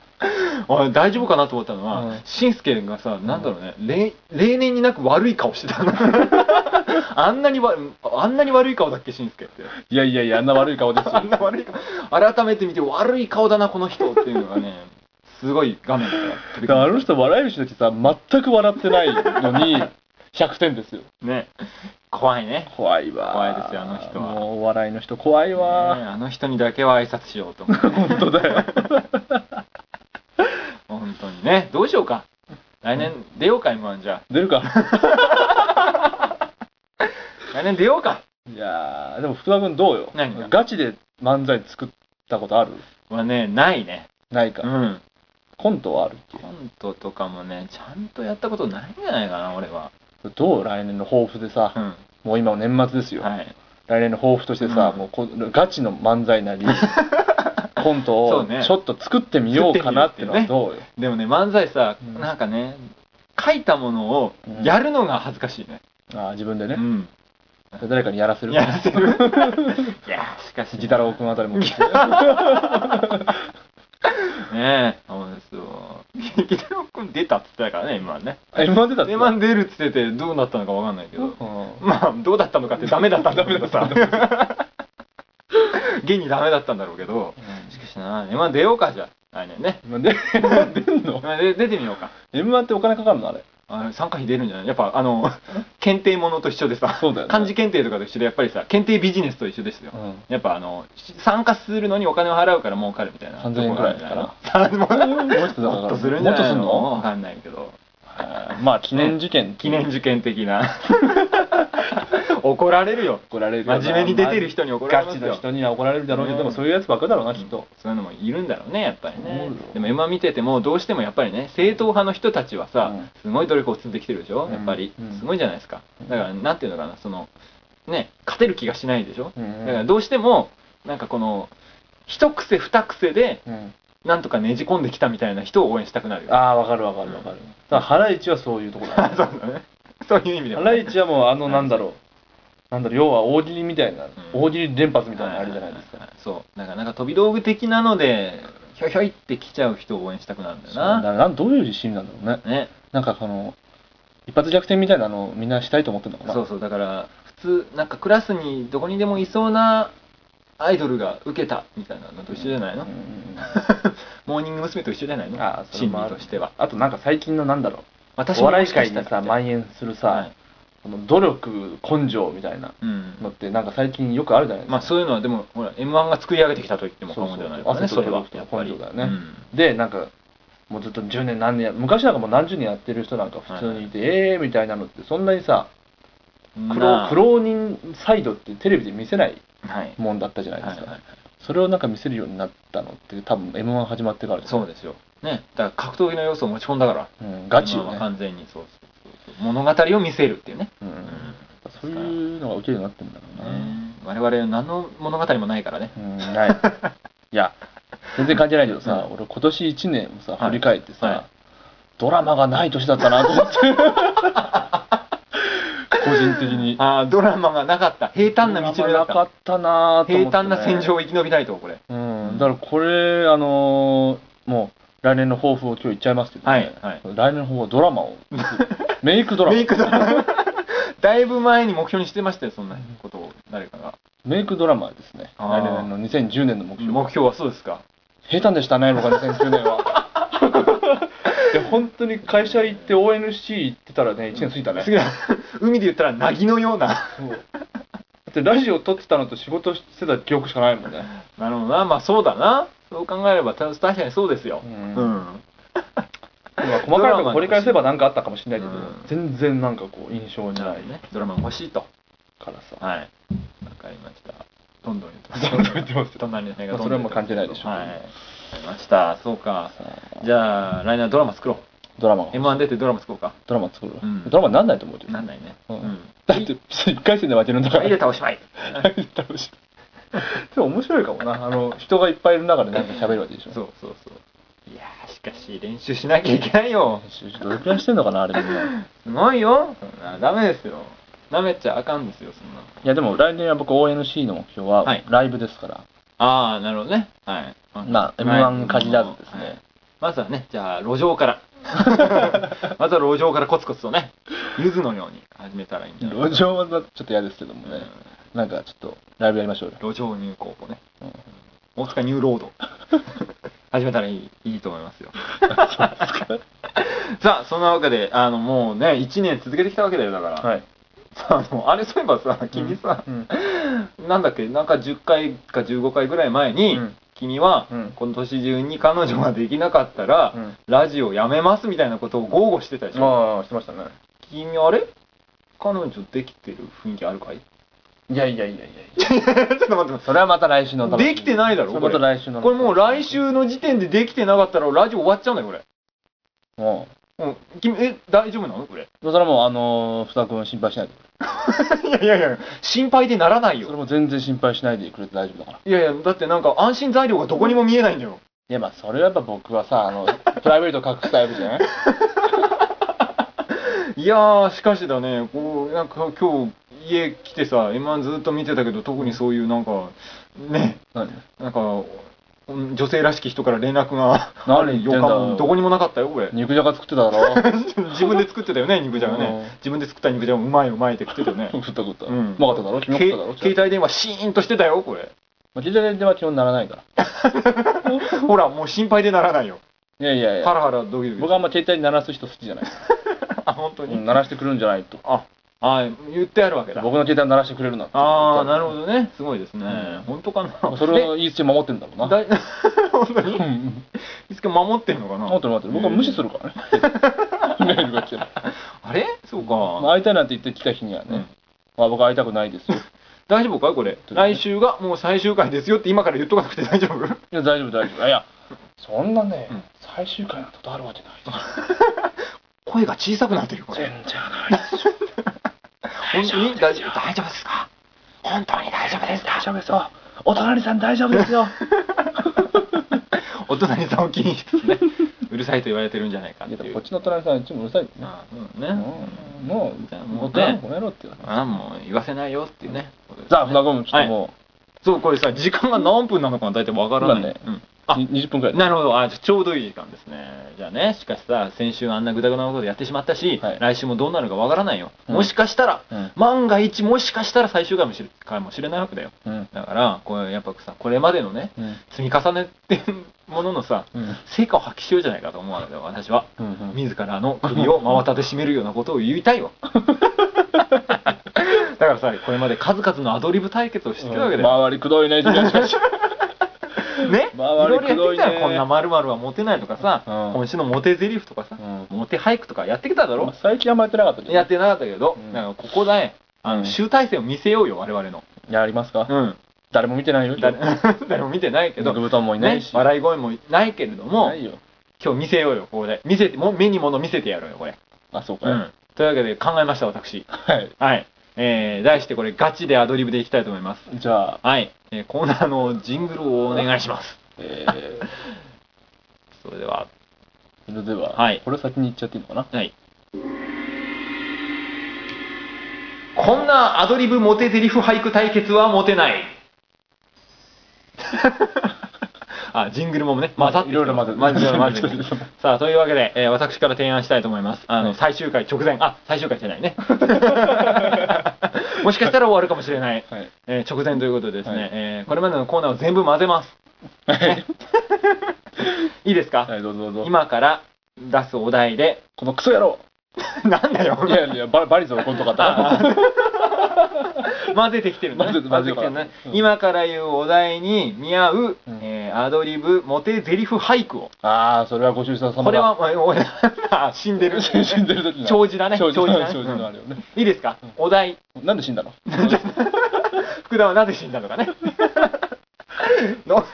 Speaker 1: あれ大丈夫かなと思ったの
Speaker 2: う
Speaker 1: は
Speaker 2: ん
Speaker 1: しんすけがさなんだろうね例例年になく悪い顔してたの あんなにわあんなに悪い顔だっけしんすけって
Speaker 2: いやいやいやあんな悪い顔です
Speaker 1: あ
Speaker 2: よ
Speaker 1: んな悪い顔改めて見て悪い顔だなこの人っていうのがねすごい画面から飛び
Speaker 2: だからあ
Speaker 1: 込ん
Speaker 2: の
Speaker 1: で
Speaker 2: 人笑い飯の時さ全く笑ってないのに100点 ですよ
Speaker 1: きたね怖いね
Speaker 2: 怖いわ
Speaker 1: 怖いですよあの人は
Speaker 2: もうお笑いの人怖いわ、
Speaker 1: ねあの人にだけは挨拶しようと思っ て
Speaker 2: 本当だよ
Speaker 1: 本当にねどうしようか来年出ようか m 1じゃ
Speaker 2: 出るか
Speaker 1: あ来年出ようか
Speaker 2: いやーでも福田君どうよ
Speaker 1: 何が
Speaker 2: ガチで漫才作ったことある
Speaker 1: はねないね
Speaker 2: ないか、
Speaker 1: うん
Speaker 2: コントはあるっ
Speaker 1: コントとかもねちゃんとやったことないんじゃないかな俺は
Speaker 2: けどう来年の抱負でさ、
Speaker 1: うん
Speaker 2: もう今年末ですよ、
Speaker 1: はい
Speaker 2: 来年の抱負としてさ、
Speaker 1: うん
Speaker 2: もうこガチの漫才 なりコント
Speaker 1: そ
Speaker 2: を
Speaker 1: うね
Speaker 2: ちょっと作ってみようかなってのはどうよ、
Speaker 1: でもね漫才さ、
Speaker 2: うん
Speaker 1: なんかね書いたものを
Speaker 2: うん
Speaker 1: やるのが恥ずかしいね
Speaker 2: ああ自分でね
Speaker 1: う、ん
Speaker 2: 誰かにやらせる
Speaker 1: やらせる いやしかし
Speaker 2: ギタロウ君あたりも 来て
Speaker 1: ねえそうですよギタロウ君出たっつってたからね今ね
Speaker 2: あ M−1 出たっつってた
Speaker 1: M−1 出るっつっててどうなったのかわかんないけど
Speaker 2: うん
Speaker 1: まあどうだったのかってダメだったんだ ろうけどさ現にダメだったんだろうけどしかしな M−1 出ようかじゃあ来年ね
Speaker 2: うんで M−1 出ん の
Speaker 1: まあで出てみようか
Speaker 2: M−1 ってお金かかるのあれ
Speaker 1: あの参加費出るんじゃないやっぱあの検定ものと一緒でさ
Speaker 2: そうだよね
Speaker 1: 漢字検定とかと一緒でやっぱりさ検定ビジネスと一緒ですよ、
Speaker 2: うん
Speaker 1: やっぱあのし参加するのにお金を払うから儲かるみたいな
Speaker 2: 3000円くらいかな
Speaker 1: さあでも
Speaker 2: もうちょっとだから
Speaker 1: もっとするんじゃ
Speaker 2: もっと
Speaker 1: ない
Speaker 2: すん
Speaker 1: のわ
Speaker 2: の
Speaker 1: かんないけど
Speaker 2: あーまあ記念受験
Speaker 1: 記念受験的な怒られるよ
Speaker 2: 怒られるよな
Speaker 1: 真面目に出てる人に怒られ
Speaker 2: ガ
Speaker 1: ま
Speaker 2: チ
Speaker 1: す
Speaker 2: の
Speaker 1: よ
Speaker 2: 人には怒られるだろうけど、
Speaker 1: うん
Speaker 2: でもそういうやつばっかだろうなきっと、
Speaker 1: そういうのもいるんだろうねやっぱりね
Speaker 2: そうよ
Speaker 1: でも今見ててもどうしてもやっぱりね正統派の人たちはさ、
Speaker 2: うん
Speaker 1: すごい努力を積んできてるでしょ、
Speaker 2: うん
Speaker 1: やっぱり
Speaker 2: うん
Speaker 1: すごいじゃないですかだからなんていうのかなそのね勝てる気がしないでしょ、
Speaker 2: うん
Speaker 1: だからどうしてもなんかこの一癖二癖で
Speaker 2: うん
Speaker 1: なんとかねじ込んできたみたいな人を応援したくなるよ
Speaker 2: ああわかるわかるわかる、だからハライチはそういうところだね
Speaker 1: そうだねそういう意味で
Speaker 2: ハ
Speaker 1: も
Speaker 2: ラ
Speaker 1: ね
Speaker 2: イチはもうあのなんだろうなんだろう要は大喜利みたいな、大喜利連発みたいなのあるじゃないですか、
Speaker 1: そうだからなんか飛び道具的なのでひょいひょいって来ちゃう人を応援したくなるんだよ
Speaker 2: そうなん
Speaker 1: な
Speaker 2: だなんどういう自信なんだろうね
Speaker 1: ね
Speaker 2: なんかその一発逆転みたいなのをみんなしたいと思ってるのかな
Speaker 1: そうそうだから普通なんかクラスにどこにでもいそうなアイドルが受けたみたいなのと一緒じゃないの、
Speaker 2: うんうんうん
Speaker 1: モーニング娘。と一緒じゃないの
Speaker 2: あーそれ
Speaker 1: 心
Speaker 2: もあ
Speaker 1: 理
Speaker 2: る
Speaker 1: としては
Speaker 2: あとなんか最近のなんだろ
Speaker 1: 私
Speaker 2: うお
Speaker 1: も
Speaker 2: 笑
Speaker 1: も
Speaker 2: い
Speaker 1: しか
Speaker 2: 界
Speaker 1: した
Speaker 2: に
Speaker 1: ら
Speaker 2: さ蔓延するさ、
Speaker 1: はい
Speaker 2: この努力根性みたいな
Speaker 1: うん
Speaker 2: のってなんか最近よくあるじゃないですか、
Speaker 1: まあそういうのはでもほら m 1が作り上げてきたと言っても
Speaker 2: そ
Speaker 1: 過
Speaker 2: うそう
Speaker 1: 言ではないからね
Speaker 2: 汗
Speaker 1: そ
Speaker 2: と
Speaker 1: れはやっぱり
Speaker 2: 根性だよね
Speaker 1: うん
Speaker 2: でなんかもうずっと10年何年や昔なんかもう何十年やってる人なんか普通にいて、ええー、みたいなのってそんなにさ苦労
Speaker 1: なあ
Speaker 2: 苦労人サイドってテレビで見せない
Speaker 1: はい
Speaker 2: もんだったじゃないで
Speaker 1: はい
Speaker 2: すか、
Speaker 1: はい
Speaker 2: それをなんか見せるようになったのって多分 m 1始まってからです
Speaker 1: そうですよねだから格闘技の要素を持ち込んだから
Speaker 2: うん、ガチよ
Speaker 1: 今は
Speaker 2: ね、
Speaker 1: 完全にそうそうそうそう物語を見せるっていうね
Speaker 2: うん、そういうのが受けるようになってんだろうな、
Speaker 1: 我々何の物語もないからね
Speaker 2: うんないいや全然関係ないけどさ、俺今年1年をさ
Speaker 1: はい
Speaker 2: 振り返ってさ、
Speaker 1: はい
Speaker 2: ドラマがない年だったなと思って 個人的に
Speaker 1: ああドラマがなかった平坦な道
Speaker 2: ド
Speaker 1: の
Speaker 2: ラマ
Speaker 1: だ
Speaker 2: な
Speaker 1: っ
Speaker 2: か
Speaker 1: た
Speaker 2: ったなと思って、
Speaker 1: 平坦な戦場を生き延びたいとこれ
Speaker 2: うんだからこれあのーもう来年の抱負を今日言っちゃいますけど、ね
Speaker 1: はい
Speaker 2: 来年の抱負はドラ マをメイクドラマ
Speaker 1: メイクドラ マだいぶ前に目標にしてましたよそんなことを誰かが
Speaker 2: メイクドラマはですね
Speaker 1: あ
Speaker 2: 来
Speaker 1: ー
Speaker 2: 年の2010年の目標
Speaker 1: 目標はそうですか
Speaker 2: 平坦でしたね僕は2009年は いや本当に会社行って ONC 行ってたらね1年過ぎたね、
Speaker 1: 次は海で言ったら凪のような
Speaker 2: そうだってラジオ撮ってたのと仕事してた記憶しかないも んね
Speaker 1: なるほどなまあそうだなそう考えればた確かにそうですよ
Speaker 2: うん
Speaker 1: うん、
Speaker 2: まあ細かいとこ掘り返せば何かあったかもしれないけど、
Speaker 1: うん
Speaker 2: 全然なんかこう印象に
Speaker 1: なる
Speaker 2: な
Speaker 1: ほ
Speaker 2: い
Speaker 1: どねドラマも欲しいと
Speaker 2: からさ
Speaker 1: はいわかりましたどんどん言ってます
Speaker 2: そんな言ってますよ
Speaker 1: 隣の辺が
Speaker 2: まあ
Speaker 1: ど
Speaker 2: それ
Speaker 1: んど
Speaker 2: は
Speaker 1: ん
Speaker 2: もう関係ないでしょう
Speaker 1: はいわかりましたそうかじゃあ来年はドラマ作ろう
Speaker 2: ドラマが
Speaker 1: m 1出てドラマ作ろうか
Speaker 2: ドラマ作るわ、
Speaker 1: うん
Speaker 2: ドラマになんないと思うけど
Speaker 1: なんないね
Speaker 2: う
Speaker 1: うんん
Speaker 2: だって1回戦で負けるんだから
Speaker 1: 入れたおしまい
Speaker 2: 入れたらしい でも面白いかもなあの人がいっぱいいる中でなんか喋るわけでしょ
Speaker 1: そうそうそういやーしかし練習しなきゃいけないよ
Speaker 2: どれくらいしてんのかなあれみんな
Speaker 1: すごいよそんなダメですよなめちゃあかんですよそんない
Speaker 2: やでも来年は僕 ONC の目標は
Speaker 1: はい
Speaker 2: ライブですから、
Speaker 1: ああなるほどねはい
Speaker 2: まあ m 1限らずですね、
Speaker 1: はいまずはねじゃあ路上から まずは路上からコツコツとねゆずのように始めたらいいんじゃない
Speaker 2: 路上はちょっと嫌ですけどもね、なんかちょっとライブやりましょうよ
Speaker 1: 路上入高校ね、大塚ニューロード始めたらいいいいと思いますよさあそんなわけであのもうね1年続けてきたわけだよだから、
Speaker 2: はい、
Speaker 1: さあのあれそういえばさ君さ、
Speaker 2: うん、
Speaker 1: なんだっけなんか10回か15回ぐらい前に、
Speaker 2: うん
Speaker 1: 君は、
Speaker 2: うん
Speaker 1: この年中に彼女ができなかったら、
Speaker 2: うん
Speaker 1: ラジオやめますみたいなことを豪語してたでしょ、
Speaker 2: ああしてましたね
Speaker 1: 君あれ彼女できてる雰囲気あるかい ち
Speaker 2: いやいやいやいや
Speaker 1: ょっと待って
Speaker 2: それはまた来週のお楽しみ
Speaker 1: できてないだろ
Speaker 2: それ
Speaker 1: こ
Speaker 2: ま
Speaker 1: れ
Speaker 2: た来週の
Speaker 1: これもう来週の時点でできてなかったらラジオ終わっちゃうんだよこれ
Speaker 2: も
Speaker 1: うん君え大丈夫なのこれ
Speaker 2: うそれはもうあのー、ふたくん心配しないで
Speaker 1: いやいやいや心配でならない
Speaker 2: そ
Speaker 1: よ
Speaker 2: れも全然心配しないでくれて大丈夫だから
Speaker 1: いやいやだってなんか安心材料がどこにも見えないんだよ
Speaker 2: いやまあそれはやっぱ僕はさあ のプライベート隠すタイプじゃない
Speaker 1: いやーしかしだねこうなんか今日家来てさ m 1ずっと見てたけど特にそういうなんかね
Speaker 2: 何
Speaker 1: なんかうん女性らしき人から連絡があ
Speaker 2: 何
Speaker 1: る
Speaker 2: 言ってん
Speaker 1: 予
Speaker 2: だよ
Speaker 1: 感もどこにもなかったよこれ
Speaker 2: 肉じゃが作ってただ ろ
Speaker 1: 自分で作ってたよね肉じゃが
Speaker 2: うん
Speaker 1: ね自分で作った肉じゃがうまいうまいって食ってたよね
Speaker 2: 食った食った、う
Speaker 1: うん
Speaker 2: まかっただろ
Speaker 1: け
Speaker 2: 君も食っただろ
Speaker 1: 携帯電話シーンとしてたよ これ
Speaker 2: まあ携帯電話基本ならないから
Speaker 1: ほらもう心配でならないよ
Speaker 2: いやいやい
Speaker 1: ハ
Speaker 2: や
Speaker 1: ラハラドキドキ
Speaker 2: 僕はあんま携帯鳴らす人好き じゃない、
Speaker 1: あ本当に、
Speaker 2: うん、鳴らしてくるんじゃないと
Speaker 1: ああ言ってあるわけだ
Speaker 2: 僕の携帯鳴らしてくれるなって
Speaker 1: ああなる
Speaker 2: ど
Speaker 1: ほどねすごいですね、本当かな
Speaker 2: それをいい姿勢守ってんだろうな
Speaker 1: だい 本当に
Speaker 2: うんうん
Speaker 1: いつか守ってんのかな
Speaker 2: 守ってる守ってる僕は無視する からねメールが来てる、
Speaker 1: あれそうか、
Speaker 2: まあ、会いたいなんて言ってきた日にはね、
Speaker 1: うん
Speaker 2: まあ、僕は会いたくない ですよ
Speaker 1: 大丈夫かこれ
Speaker 2: とね
Speaker 1: 来週がもう最終回ですよって今から言っとかなくて大丈夫
Speaker 2: いや大丈夫大丈夫いやそんなね、最終回なんてことあるわけないですよ
Speaker 1: 声が小さくなってるこれ
Speaker 2: 全然ないですよ
Speaker 1: 本当に大丈夫大丈夫ですか本当に大丈夫ですか
Speaker 2: 大丈夫ですよお隣さん大丈夫ですよ
Speaker 1: お隣さんお気に入り ですねうるさいと言われてるんじゃないかっ
Speaker 2: い
Speaker 1: て
Speaker 2: や
Speaker 1: い
Speaker 2: で
Speaker 1: う
Speaker 2: もこっちの隣さんいつもうるさいね、
Speaker 1: あうんね、
Speaker 2: うん、もう
Speaker 1: じゃあも
Speaker 2: もう
Speaker 1: うね
Speaker 2: 僕はもうやろうって言われて
Speaker 1: あもう言わせないよっていうね
Speaker 2: さあ船込むちょっとも
Speaker 1: そうこれさ時間が何分なのかな大体わからない、
Speaker 2: 今ね
Speaker 1: うん
Speaker 2: う、
Speaker 1: あ
Speaker 2: に20分くらい
Speaker 1: なるほどあちょうどいい時間ですねじゃあねしかしさ先週あんなぐだぐだなことやってしまったし、
Speaker 2: はい
Speaker 1: 来週もどうなるかわからないよ、
Speaker 2: うん
Speaker 1: もしかしたら、
Speaker 2: うん
Speaker 1: 万が一もしかしたら最終回もしれかもしれないわけだよ
Speaker 2: うん
Speaker 1: だからこれやっぱさこれまでのね
Speaker 2: うん
Speaker 1: 積み重ねっていうもののさ、
Speaker 2: うん
Speaker 1: 成果を発揮しようじゃないかと思うわけだよ私は、
Speaker 2: うんうん
Speaker 1: 自らの首を真綿で締めるようなことを言いたい よだからさこれまで数々のアドリブ対決をしてきたわけだよ、
Speaker 2: 周りくどいねしかしかし
Speaker 1: ね、いろ
Speaker 2: 周り
Speaker 1: いろ
Speaker 2: く
Speaker 1: やっ
Speaker 2: ど
Speaker 1: て
Speaker 2: いね
Speaker 1: きたよこんな〇〇はモテないとかさ、
Speaker 2: うん
Speaker 1: 今週のモテ台詞とかさ、
Speaker 2: う
Speaker 1: モテ俳句とかやってきただろ、
Speaker 2: 最近あんまやってなかったけど
Speaker 1: やってなかったけど、なんかここだねあの、
Speaker 2: うん
Speaker 1: 集大成を見せようよ我々の
Speaker 2: やりますか
Speaker 1: うん
Speaker 2: 誰も見てないよ
Speaker 1: 誰誰も見てないけど、
Speaker 2: 肉豚もいない
Speaker 1: ね
Speaker 2: し、
Speaker 1: 笑い声もないけれども
Speaker 2: ないよ
Speaker 1: 今日見せようよここで見せてもう目に物見せてやろうよこれ、
Speaker 2: あそうか、
Speaker 1: うん、というわけで考えました私
Speaker 2: はい
Speaker 1: はいえー、題してこれガチでアドリブでいきたいと思います
Speaker 2: じゃあ、
Speaker 1: はい、えー、コーナーのジングルをお願いします
Speaker 2: え ー、
Speaker 1: それでは
Speaker 2: それでは、
Speaker 1: はい
Speaker 2: これ先に言っちゃっていいのかな
Speaker 1: はいこんなアドリブモテゼリフ俳句対決はモテない あジングルもね混ざって
Speaker 2: いろいろ混ぜ
Speaker 1: 混ざって混ざって
Speaker 2: て
Speaker 1: さあというわけで、えー私から提案したいと思いますあの、最終回直前あ最終回じゃない ねもしかしたら終わるかもしれない、
Speaker 2: はい
Speaker 1: えー直前ということでですね、
Speaker 2: はい
Speaker 1: えーこれまでのコーナーを全部混ぜますいいですか、
Speaker 2: はいどうぞどうぞ
Speaker 1: 今から出すお題で
Speaker 2: このクソ野郎
Speaker 1: なんだよ
Speaker 2: いやいやババリゾのコントかった
Speaker 1: 混ぜてきてるね
Speaker 2: 混ぜて
Speaker 1: 混ぜてきてる
Speaker 2: 混
Speaker 1: ね
Speaker 2: ぜて、から
Speaker 1: 今から言うお題に見合う、
Speaker 2: ん
Speaker 1: えーアドリブモテゼリフ俳句を
Speaker 2: ああそれはご愁傷様だ
Speaker 1: これは、えーお あ死んでる
Speaker 2: 死んでる時の
Speaker 1: 長寿だね
Speaker 2: 長寿
Speaker 1: 長寿だね
Speaker 2: 長寿のあれよね、
Speaker 1: いいですかお題
Speaker 2: なんで死ん だの
Speaker 1: 福田はなぜ死んだのかね の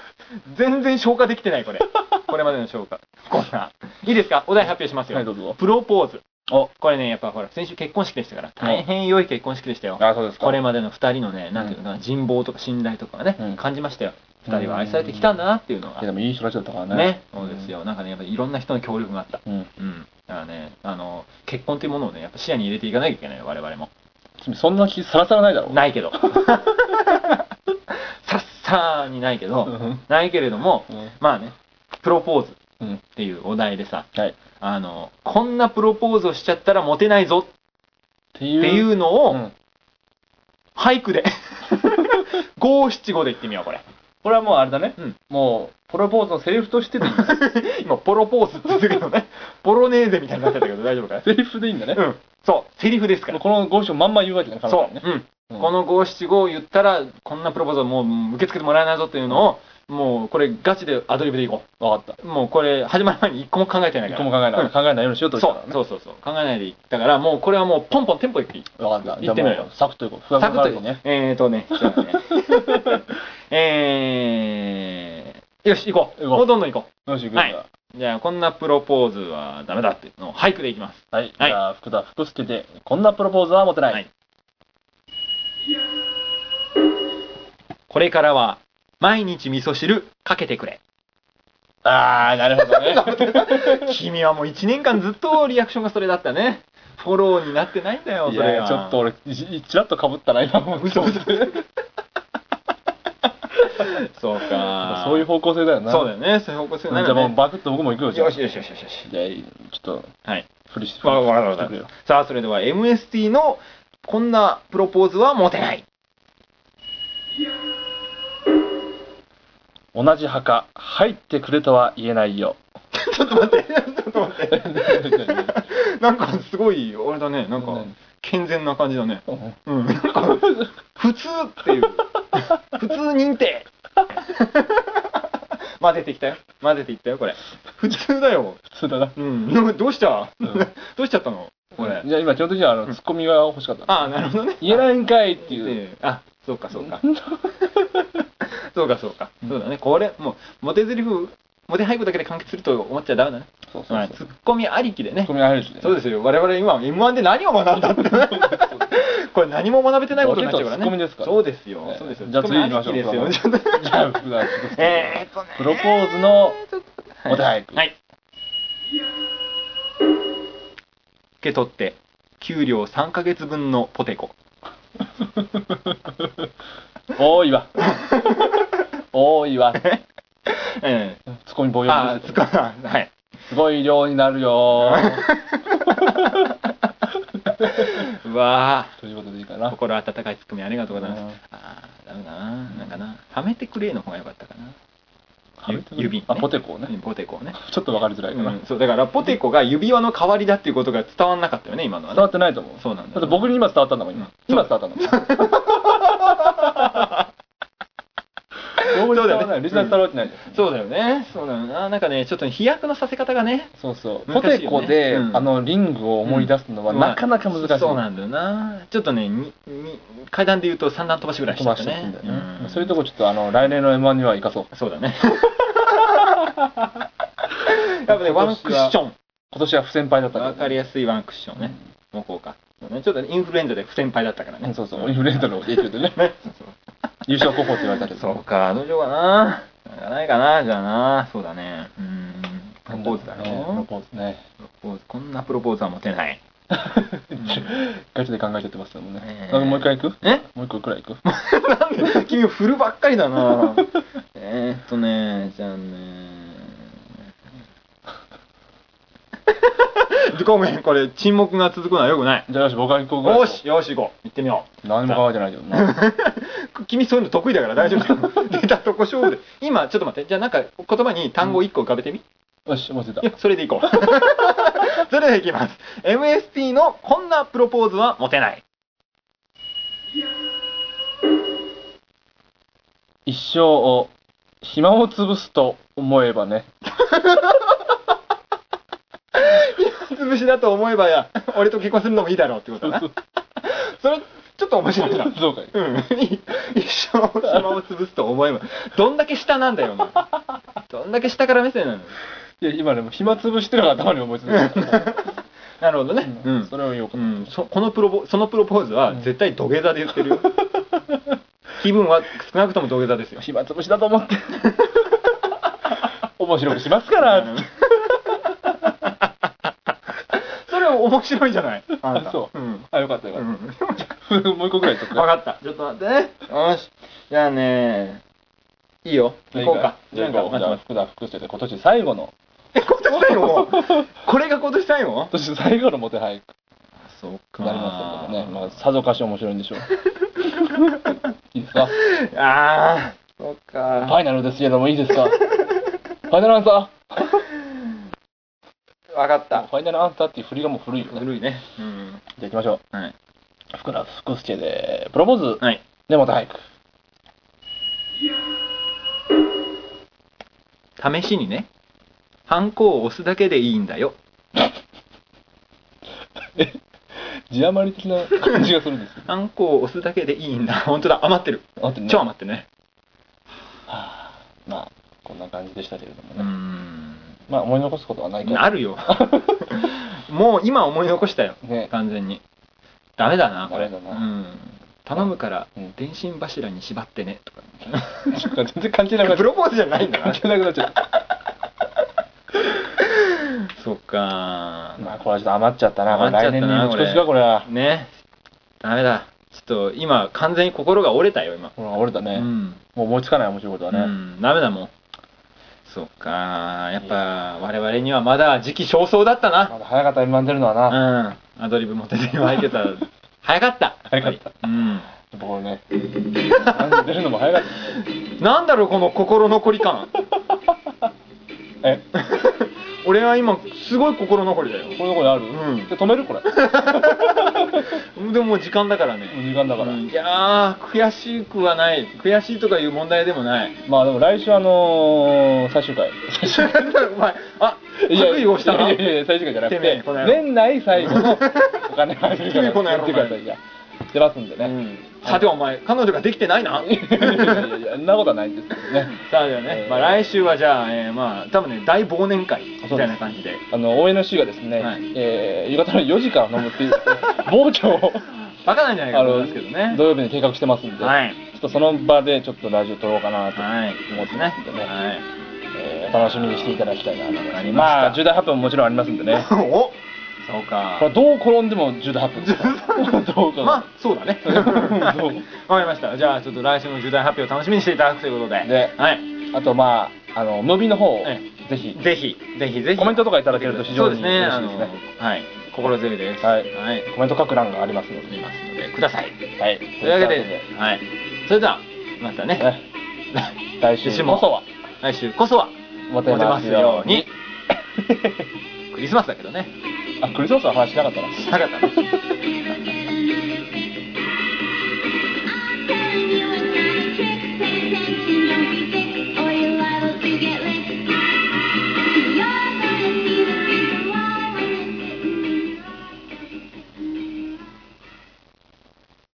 Speaker 1: 全然消化できてないこれこれまでの消化こんないいですかお題発表しますよ、
Speaker 2: はいどうぞ
Speaker 1: プロポーズ
Speaker 2: お
Speaker 1: これねやっぱほら先週結婚式でしたから大変良い結婚式でしたよ、
Speaker 2: ああそうですか
Speaker 1: これまでの2人のねなんていうのかな、人望とか信頼とかがね、
Speaker 2: うん
Speaker 1: 感じましたよ2人は愛されてきたんだなっていうのが
Speaker 2: いやでもいい人たちだったからね
Speaker 1: ね、そうですよ、なんかね、やっぱりいろんな人の協力があった。
Speaker 2: うん
Speaker 1: うん。だからね、あの、結婚というものをね、やっぱ視野に入れていかなきゃいけないよ、我々も。
Speaker 2: 君そんな気さらさらないだろ
Speaker 1: ないけ ど。さっさーにないけ
Speaker 2: う
Speaker 1: ど、
Speaker 2: ん
Speaker 1: ないけれども、
Speaker 2: うん
Speaker 1: まあね、プロポーズっ
Speaker 2: うん
Speaker 1: ていうお題でさ、
Speaker 2: はいっ
Speaker 1: あの、こんなプロポーズをしちゃったらモテないぞ
Speaker 2: ていう
Speaker 1: っていううのを、
Speaker 2: ん
Speaker 1: 俳句で、 五七五で言ってみよう、これ。
Speaker 2: これはもうあれだね、
Speaker 1: うん
Speaker 2: もうプロポーズのセリフとしてでいい
Speaker 1: 今、ポロポーズって言ってるけど ね、ポロネーゼみたいになっちゃったけど大丈夫か
Speaker 2: セリフでいいんだね、
Speaker 1: うん。そう、セリフですから。
Speaker 2: この五章まんま言うわけだから
Speaker 1: そう、
Speaker 2: ね
Speaker 1: うん
Speaker 2: うん
Speaker 1: この五七五を言ったらこんなプロポーズはもううん受け付けてもらえないぞっていうのを、もうこれガチでアドリブでいこ
Speaker 2: わかっ
Speaker 1: うもうこれ始まる前に一個も考えて
Speaker 2: た
Speaker 1: ない
Speaker 2: 一個
Speaker 1: から
Speaker 2: も考えない、考えないようにしようとした
Speaker 1: そ
Speaker 2: から
Speaker 1: うそうそうそう考えないでいったからもうこれはもうポンポンテンポいく
Speaker 2: わかった
Speaker 1: 行ってみ
Speaker 2: じ
Speaker 1: ろよ
Speaker 2: ゃあもうサクッといこうふわふ
Speaker 1: サ
Speaker 2: わ
Speaker 1: クッと
Speaker 2: ふわね
Speaker 1: えーとねじゃあね えーよし行こう
Speaker 2: 行こう
Speaker 1: もうどんどん行こ
Speaker 2: よし行くん
Speaker 1: はい
Speaker 2: だ
Speaker 1: うじゃあこんなプロポーズはダメだっていうのを俳句でいきます
Speaker 2: はい、じ
Speaker 1: はい
Speaker 2: ゃあ福田福助でこんなプロポーズは持てない、
Speaker 1: はいこれからは毎日味噌汁かけてくれ
Speaker 2: ああなるほど ね
Speaker 1: 君はもう1年間ずっとリアクションがそれだったねフォローになってないんだよ
Speaker 2: い
Speaker 1: それ
Speaker 2: や
Speaker 1: が
Speaker 2: ちょっと俺ちちらっとかぶったな今も
Speaker 1: 嘘嘘そう か
Speaker 2: そういう方向性だよな
Speaker 1: そうだよねそういう方向性
Speaker 2: じ
Speaker 1: ない
Speaker 2: ゃあも
Speaker 1: よ
Speaker 2: う
Speaker 1: ね
Speaker 2: バクッと僕も行くよじゃあ
Speaker 1: よ
Speaker 2: じ
Speaker 1: しよしよしよしよし
Speaker 2: ゃあちょっと
Speaker 1: はい
Speaker 2: ふりして
Speaker 1: わわかっ
Speaker 2: 振り
Speaker 1: た
Speaker 2: してくれよ
Speaker 1: さあそれでは MST のこんなプロポーズはモテない
Speaker 2: 同じ墓入ってくれとは言えないよ
Speaker 1: ちょっと待ってちょっと待って
Speaker 2: う
Speaker 1: なんかすごいあれだねなんか
Speaker 2: 何
Speaker 1: 健全な感じだね
Speaker 2: ん
Speaker 1: うんなんか普通っていう 普通認定 混ぜてきたよ混ぜていったよこれ普通だよ
Speaker 2: 普通だな
Speaker 1: うん どうした、
Speaker 2: ん
Speaker 1: どうしちゃったのこれ、
Speaker 2: じゃあ今基本的にはあのツッコミが欲しかった
Speaker 1: ああなるほどね
Speaker 2: 言えないんかいっていう
Speaker 1: であそうかそうか そうかそうか、そうだねこれもうモテゼリフモテ俳句だけで完結すると思っちゃダメだね
Speaker 2: そうそう
Speaker 1: はい
Speaker 2: そうツ
Speaker 1: ツッコミありきでね
Speaker 2: ッコミが入るしね
Speaker 1: そうですよ我々今 m 1で何を学 んだってこれ何も学べてないことになっちゃうからね
Speaker 2: ボケとツッコミですから
Speaker 1: そうですよ、
Speaker 2: ね
Speaker 1: そうですよ
Speaker 2: じゃあ次行きましょう
Speaker 1: ツッコミありきですよちょっと
Speaker 2: じゃあ福田福助
Speaker 1: えーっとね
Speaker 2: プロポーズのお題俳句
Speaker 1: はい。受け取って、給料3ヶ月分のポテコ。
Speaker 2: 多いわ多 いわツ
Speaker 1: ええ
Speaker 2: ッコミ棒
Speaker 1: あ
Speaker 2: 読
Speaker 1: あ、
Speaker 2: みで
Speaker 1: つ
Speaker 2: す
Speaker 1: か、はい。
Speaker 2: すごい量になるよ
Speaker 1: うわ
Speaker 2: ということでいいか
Speaker 1: あ、
Speaker 2: な
Speaker 1: 心温かいツッコミありがとうございます
Speaker 2: うん。
Speaker 1: ああ、ダメだな。なんかな、はめてくれの方が良かったかな。ゆ指ね
Speaker 2: あポテコをね
Speaker 1: うんポテコをね。
Speaker 2: ちょっとわかりづらいかな
Speaker 1: う
Speaker 2: 伝
Speaker 1: んそう、だからポテコが指輪の代わりだっていうことが伝わんなかったよね、今のはね。
Speaker 2: わってないと思う
Speaker 1: そうなんだ
Speaker 2: だっ
Speaker 1: よ
Speaker 2: て僕に今伝わったんだもん今今伝わったんだもん
Speaker 1: そうだよね。
Speaker 2: ないリスナー伝わるわけないじゃん
Speaker 1: そうだよねそうだよななんかねちょっと飛躍のさせ方がね
Speaker 2: そうそう、ポ
Speaker 1: 難しいよ
Speaker 2: テコ
Speaker 1: ね
Speaker 2: で、
Speaker 1: うん
Speaker 2: あのリングを思い出すのは
Speaker 1: うん
Speaker 2: なかなか難しい、
Speaker 1: そうなんだよなちょっとねにに階段で言うと三段飛ばしぐらいし
Speaker 2: 飛
Speaker 1: ちゃっ
Speaker 2: ば
Speaker 1: た
Speaker 2: して
Speaker 1: ね
Speaker 2: いくんだよね、
Speaker 1: うん
Speaker 2: そういうとこちょっとあの来年の M1 には生かそう
Speaker 1: そうだね やっぱねワンクッショ
Speaker 2: 今
Speaker 1: ン
Speaker 2: 年は不先輩だった
Speaker 1: わ
Speaker 2: か
Speaker 1: かりやすいワンクッションねもうこうかそうねちょっとねインフルエンザで不先輩だったから
Speaker 2: ら、
Speaker 1: ね
Speaker 2: そうそうインフルエンザの影響 でね
Speaker 1: ねそうそう
Speaker 2: 優勝候補って言われたけど
Speaker 1: そうか、どうしようかな。なんかないかな、じゃあな。そうだね。うーん。プロポーズだろ。
Speaker 2: ねプロポーズ ね
Speaker 1: プロポーズ。こんなプロポーズは持てない。
Speaker 2: ガチで考えちゃってますもんね、
Speaker 1: ねえ
Speaker 2: なんかもう一回行く
Speaker 1: え
Speaker 2: もう一個くらい行く
Speaker 1: 君振るばっかりだな。 えーっとね、じゃあね。 ごめん、これ沈黙が続くのはよくない。
Speaker 2: じゃあよし僕は行こうぐらい
Speaker 1: よし、よし、行こう。行ってみよ
Speaker 2: 何も考えてないけどな
Speaker 1: う。君そういうの得意だから大丈夫 だよ。出たとこ勝負で。今、ちょっと待って。じゃあなんか言葉に単語1個浮かべてみ。
Speaker 2: よしもう出た
Speaker 1: いや、それでいこう。 それではいきます。MST のこんなプロポーズはモテない。
Speaker 2: 一生を暇を潰すと思えばね
Speaker 1: 潰しだと思えばや、俺と結婚するのもいいだろうってことだな。それ、ちょっと面白いな。
Speaker 2: そうかい
Speaker 1: うん。い一生暇を潰すと思えば。どんだけ下なんだよ、お前。どんだけ下から目線なの
Speaker 2: いや今でも暇潰してるのが頭に思いついた
Speaker 1: なるほどね。う
Speaker 2: うん
Speaker 1: ん。
Speaker 2: それを言おうか
Speaker 1: う、
Speaker 2: なん
Speaker 1: そこのプロポそのプロポーズは絶対土下座で言って るよ気分は少なくとも土下座ですよ
Speaker 2: 暇つぶしだと思って面白くしますからつって
Speaker 1: それ面白いじゃないあなた、
Speaker 2: そう
Speaker 1: うん
Speaker 2: あよかったよか
Speaker 1: う
Speaker 2: っ
Speaker 1: ん、
Speaker 2: た、もう一個ぐらいと
Speaker 1: 分
Speaker 2: か
Speaker 1: かったちょっと待ってねよしじゃあねいいよ行こうか
Speaker 2: じゃあ
Speaker 1: なん
Speaker 2: 行こ
Speaker 1: か
Speaker 2: うじゃあ
Speaker 1: 待って
Speaker 2: 福田福助で今年最後の
Speaker 1: え今年最後これが今年最後
Speaker 2: 今年最後のモテ俳句
Speaker 1: そうか
Speaker 2: になりますけどもねまあさぞかし面白いんでしょういいですかフ
Speaker 1: ああそうか
Speaker 2: ァイナルですけどもいいです かファイナルアンサ
Speaker 1: 分かっ
Speaker 2: ー
Speaker 1: た
Speaker 2: ファイナルアンサーっていう振りがもう古いよね
Speaker 1: 古いねうん
Speaker 2: じゃあ行きましょう。
Speaker 1: はい。
Speaker 2: 福田福助で、プロポーズ。
Speaker 1: はい
Speaker 2: で、また俳句。
Speaker 1: 試しにねハンコを押すだけでいいんだよ
Speaker 2: 字余り的な感じがするんですけ
Speaker 1: ハンコを押すだけでいいんだ 本当だ余ってる
Speaker 2: ど。あとね、
Speaker 1: 超余ってるね
Speaker 2: まあ、こんな感じでしたけれども
Speaker 1: う
Speaker 2: ね。
Speaker 1: ん
Speaker 2: まあ、思い残すことはないから。
Speaker 1: ある よもう今思い残したよ
Speaker 2: ね。
Speaker 1: 完全にダメだなこれ
Speaker 2: ダメだ
Speaker 1: う、
Speaker 2: なん
Speaker 1: 頼むから
Speaker 2: うん
Speaker 1: 電信柱に縛ってねとか
Speaker 2: ちょっと全然関係なくなっち
Speaker 1: プ
Speaker 2: ゃう。
Speaker 1: ロポーズじゃないんだ
Speaker 2: 関係なくなっちゃう。
Speaker 1: そっか
Speaker 2: まあ、これはちょっと余っちゃったな。これ
Speaker 1: 余っちゃ
Speaker 2: 来
Speaker 1: った
Speaker 2: 年に
Speaker 1: な
Speaker 2: 持ち越しか、これは。
Speaker 1: ねダメだちょっと今完全に心が折れたよ今
Speaker 2: ほら、折れた
Speaker 1: う
Speaker 2: ね。も
Speaker 1: ん、
Speaker 2: う思いつかない面白いことは
Speaker 1: う
Speaker 2: ね。
Speaker 1: ん、ダメだもんそっかやっぱ我々にはまだ時期尚早だったな
Speaker 2: まだ早かった M1 出るのはな。
Speaker 1: うんアドリブも手に巻いてた 早かった
Speaker 2: 早かった。
Speaker 1: うん
Speaker 2: 僕ね。出るのも早かっ
Speaker 1: なんだろうこの心残り感
Speaker 2: た。え、
Speaker 1: 俺は今すごい心残りだよ
Speaker 2: このところある
Speaker 1: うん
Speaker 2: で止めるこれ。も う
Speaker 1: でももう時間だからね
Speaker 2: 時間だから
Speaker 1: う。んいやー悔しくはない悔しいとかいう問題で もない
Speaker 2: まあでも来週あのー、最 終回。最終
Speaker 1: お前あ
Speaker 2: いや
Speaker 1: 悪意をしたない
Speaker 2: やいやいや最終回じゃなく
Speaker 1: てめえ
Speaker 2: て
Speaker 1: この野郎
Speaker 2: 年内最 後のお金配信
Speaker 1: てめえこの野郎
Speaker 2: ってくださいや出ますんで
Speaker 1: う
Speaker 2: ね、
Speaker 1: んさてお前彼女ができてないな
Speaker 2: いやいやいやそんなことはないんですけどね
Speaker 1: さあではね、まあ、来週はじゃあ、えーまあ多分ね大忘年会み
Speaker 2: そう
Speaker 1: た
Speaker 2: で
Speaker 1: い
Speaker 2: す
Speaker 1: な感じで
Speaker 2: あの ONC がですね、
Speaker 1: はい
Speaker 2: えー夕方の4時から飲むって いう傍聴を
Speaker 1: バカなんじゃないかと思いますけどね
Speaker 2: 土曜日に計画してますんで、
Speaker 1: はい
Speaker 2: ちょっとその場でちょっとラジオ撮ろうかなと、
Speaker 1: はい
Speaker 2: 思ってますんでね
Speaker 1: はい
Speaker 2: えーお楽しみにしていただきたいなと思いま
Speaker 1: わか
Speaker 2: す
Speaker 1: りました
Speaker 2: まあ重大発表ももちろんありますんで ね
Speaker 1: おそうか
Speaker 2: これどう転んでも重大発 表ですどうかな
Speaker 1: まあそうだね
Speaker 2: そう
Speaker 1: わかりました。じゃあちょっと来週の重大発表を楽しみにしていただくということで。
Speaker 2: で
Speaker 1: はい。
Speaker 2: あとまああのムービーの方を
Speaker 1: え
Speaker 2: ぜひ
Speaker 1: ぜひ、ぜひぜひ。
Speaker 2: コメントとかいただけると非常に
Speaker 1: そうですね。
Speaker 2: 嬉し
Speaker 1: あ
Speaker 2: いで
Speaker 1: の
Speaker 2: すね、
Speaker 1: はい。心強いです。
Speaker 2: はい
Speaker 1: はい。
Speaker 2: コメント書く欄がありますので
Speaker 1: いますので、ください。
Speaker 2: はいと
Speaker 1: というわけで、はい。それでは、またね、
Speaker 2: ね来週こそは
Speaker 1: 来週こそは、
Speaker 2: モ
Speaker 1: モテますように。 クリスマスだけどね。
Speaker 2: あクリスマスは話しなかったな
Speaker 1: しなかったね。